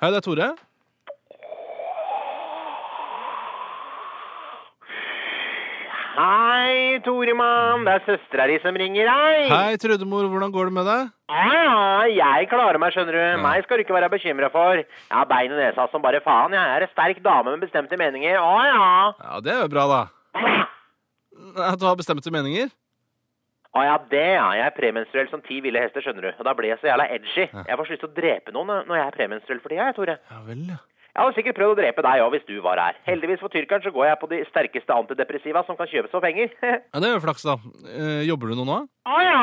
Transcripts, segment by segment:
Hei, det er Tore. Hei, Toremann. Det er søstera di som ringer. Hei. Hei, Trudemor. Hvordan går det med deg? Ja, jeg klarer meg, skjønner du. Meg skal du ikke være bekymra for. Jeg har bein i nesa som bare faen. Jeg er en sterk dame med bestemte meninger. Å ja. Ja, Det er jo bra, da. At du har bestemte meninger? Å ja, det ja. Jeg er premenstruell som ti ville hester, skjønner du. Og da ble jeg så jævla edgy. Jeg får så lyst til å drepe noen eh, når jeg er premenstruell for tida, jeg, Tore. Ja vel, ja. Jeg hadde sikkert prøvd å drepe deg òg hvis du var her. Heldigvis for tyrkeren så går jeg på de sterkeste antidepressiva som kan kjøpes for penger. ja det er jo flaks, da. Eh, jobber du noe nå? Å ja.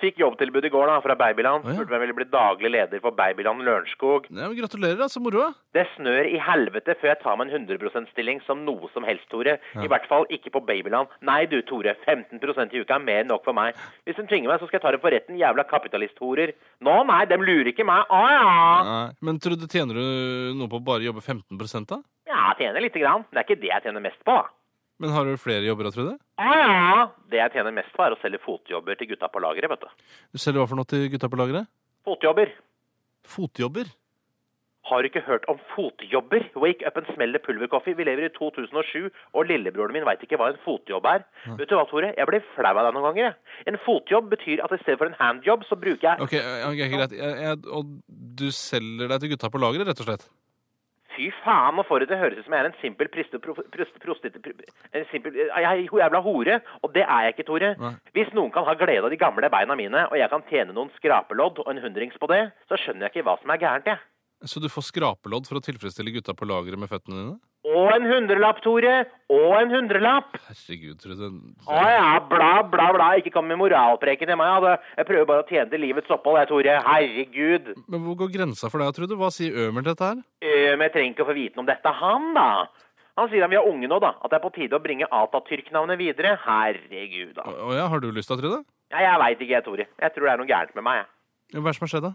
Fikk jobbtilbud i går da, fra Babyland. Å, ja. Spurte om jeg ville bli daglig leder for Babyland Lørenskog. Ja, men Gratulerer, da. Så moro. da. Det snør i helvete før jeg tar meg en 100 %-stilling som noe som helst, Tore. I hvert fall ikke på Babyland. Nei du, Tore. 15 i uka er mer enn nok for meg. Hvis de tvinger meg, så skal jeg ta dem for retten, jævla kapitalisthorer. Nå, nei, dem lurer ikke meg. Å ja. Nei. Men Trude, tjener du noe på å bare jobbe 15 da? Ja, jeg tjener lite grann. Det er ikke det jeg tjener mest på. da. Men har du flere jobber da, Trude? Å ja. Det jeg tjener mest på, er å selge fotjobber til gutta på lageret, vet du. Du selger hva for noe til gutta på lageret? Fotjobber. Fotjobber? Har du ikke hørt om fotjobber? Wake up and smell the pulvercoffee. Vi lever i 2007, og lillebroren min veit ikke hva en fotjobb er. Vet du hva, Tore? Jeg blir flau av deg noen ganger. jeg. En fotjobb betyr at i stedet for en handjob, så bruker jeg Ok, ja, ok, greit. Jeg, jeg, og du selger deg til gutta på lageret, rett og slett? Fy faen, nå får det til å høres ut som jeg er en simpel priste... Prof, prost, prostit... Pro, en simpel... Jeg er jo jævla hore, og det er jeg ikke, Tore. Nei. Hvis noen kan ha glede av de gamle beina mine, og jeg kan tjene noen skrapelodd og en hundrings på det, så skjønner jeg ikke hva som er gærent, jeg. Så du får skrapelodd for å tilfredsstille gutta på lageret med føttene dine? Og en hundrelapp, Tore! Og en hundrelapp! Herregud, Trude. Å ja, bla, bla, bla. Ikke kom med moralpreken til meg. ja, det- Jeg prøver bare å tjene til livets opphold, jeg, Tore. Herregud. Men hvor går grensa for deg, Trude? Hva sier Ømer til dette her? Eh, Men jeg trenger ikke å få vite noe om dette, han, da. Han sier at vi er unge nå, da. At det er på tide å bringe Atatürk-navnet videre. Herregud, da. Å å ja, har du lyst da, Trude? Ja, jeg veit ikke, jeg, Tore. Jeg tror det er noe gærent med meg, jeg. Ja, Hva er det som har skjedd, da?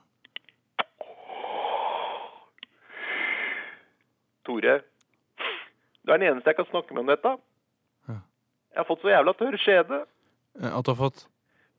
Tore, du er den eneste jeg kan snakke med om dette. Jeg har fått så jævla tørr skjede. Eh, At du har fått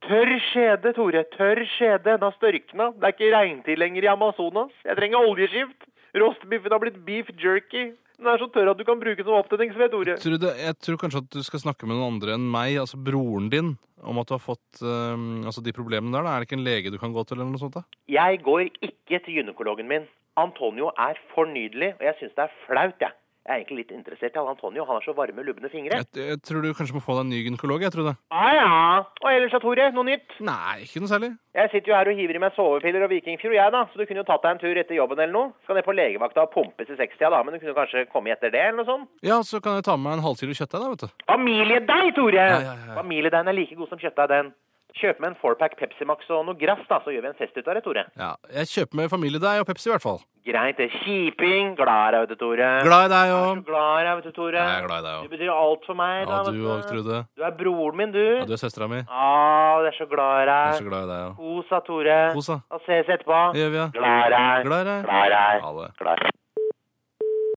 Tørr skjede, Tore. Tørr skjede. Den har størkna. Det er ikke regntid lenger i Amazonas. Jeg trenger oljeskift. Rostbiffen har blitt beef jerky. Den er så tørr at du kan bruke den som opptenningsved, Tore. Trude, jeg tror kanskje at du skal snakke med noen andre enn meg, altså broren din, om at du har fått eh, altså de problemene der. da. Er det ikke en lege du kan gå til, eller noe sånt? da? Jeg går ikke til gynekologen min. Antonio er for nydelig, og jeg syns det er flaut, jeg. Jeg er egentlig litt interessert i han Antonio. Han har så varme, lubne fingre. Jeg, jeg tror du kanskje må få deg en ny gynekolog, jeg, Trude. Ja, ja. Og ellers da, Tore, noe nytt? Nei, ikke noe særlig. Jeg sitter jo her og hiver i meg sovepiller og vikingfjord, jeg, da. Så du kunne jo tatt deg en tur etter jobben eller noe. Skal ned på legevakta og pumpes i 60 da, men du kunne kanskje komme etter det, eller noe sånt? Ja, så kan jeg ta med meg en halvkilo kjøttdeig, da, vet du. Familiedeig, Tore! Ja, ja, ja. Familiedeigen er like god som kjøttdeig, den. Kjøp med en fourpack Pepsi Max og noe grass, da, så gjør vi en fest ut av det, Tore. Ja, Jeg kjøper med familiedeig og Pepsi, i hvert fall. Greit, det. Kjiping. Glad er jeg, vet du, Tore. Glad i deg Jeg er og så glad er jeg, vet du, Tore. Jeg er glad i deg Du òg. betyr alt for meg, Ja, da. du vet òg, Trude. Du er broren min, du. Ja, du er søstera mi. Jeg Ah, jeg er så glad i er deg. så glad i deg òg. Kos deg, Tore. Kos deg. Da ses etterpå. Det gjør vi, ja. Glad er jeg. Glad i deg. Glad er jeg. Ha det. Glad.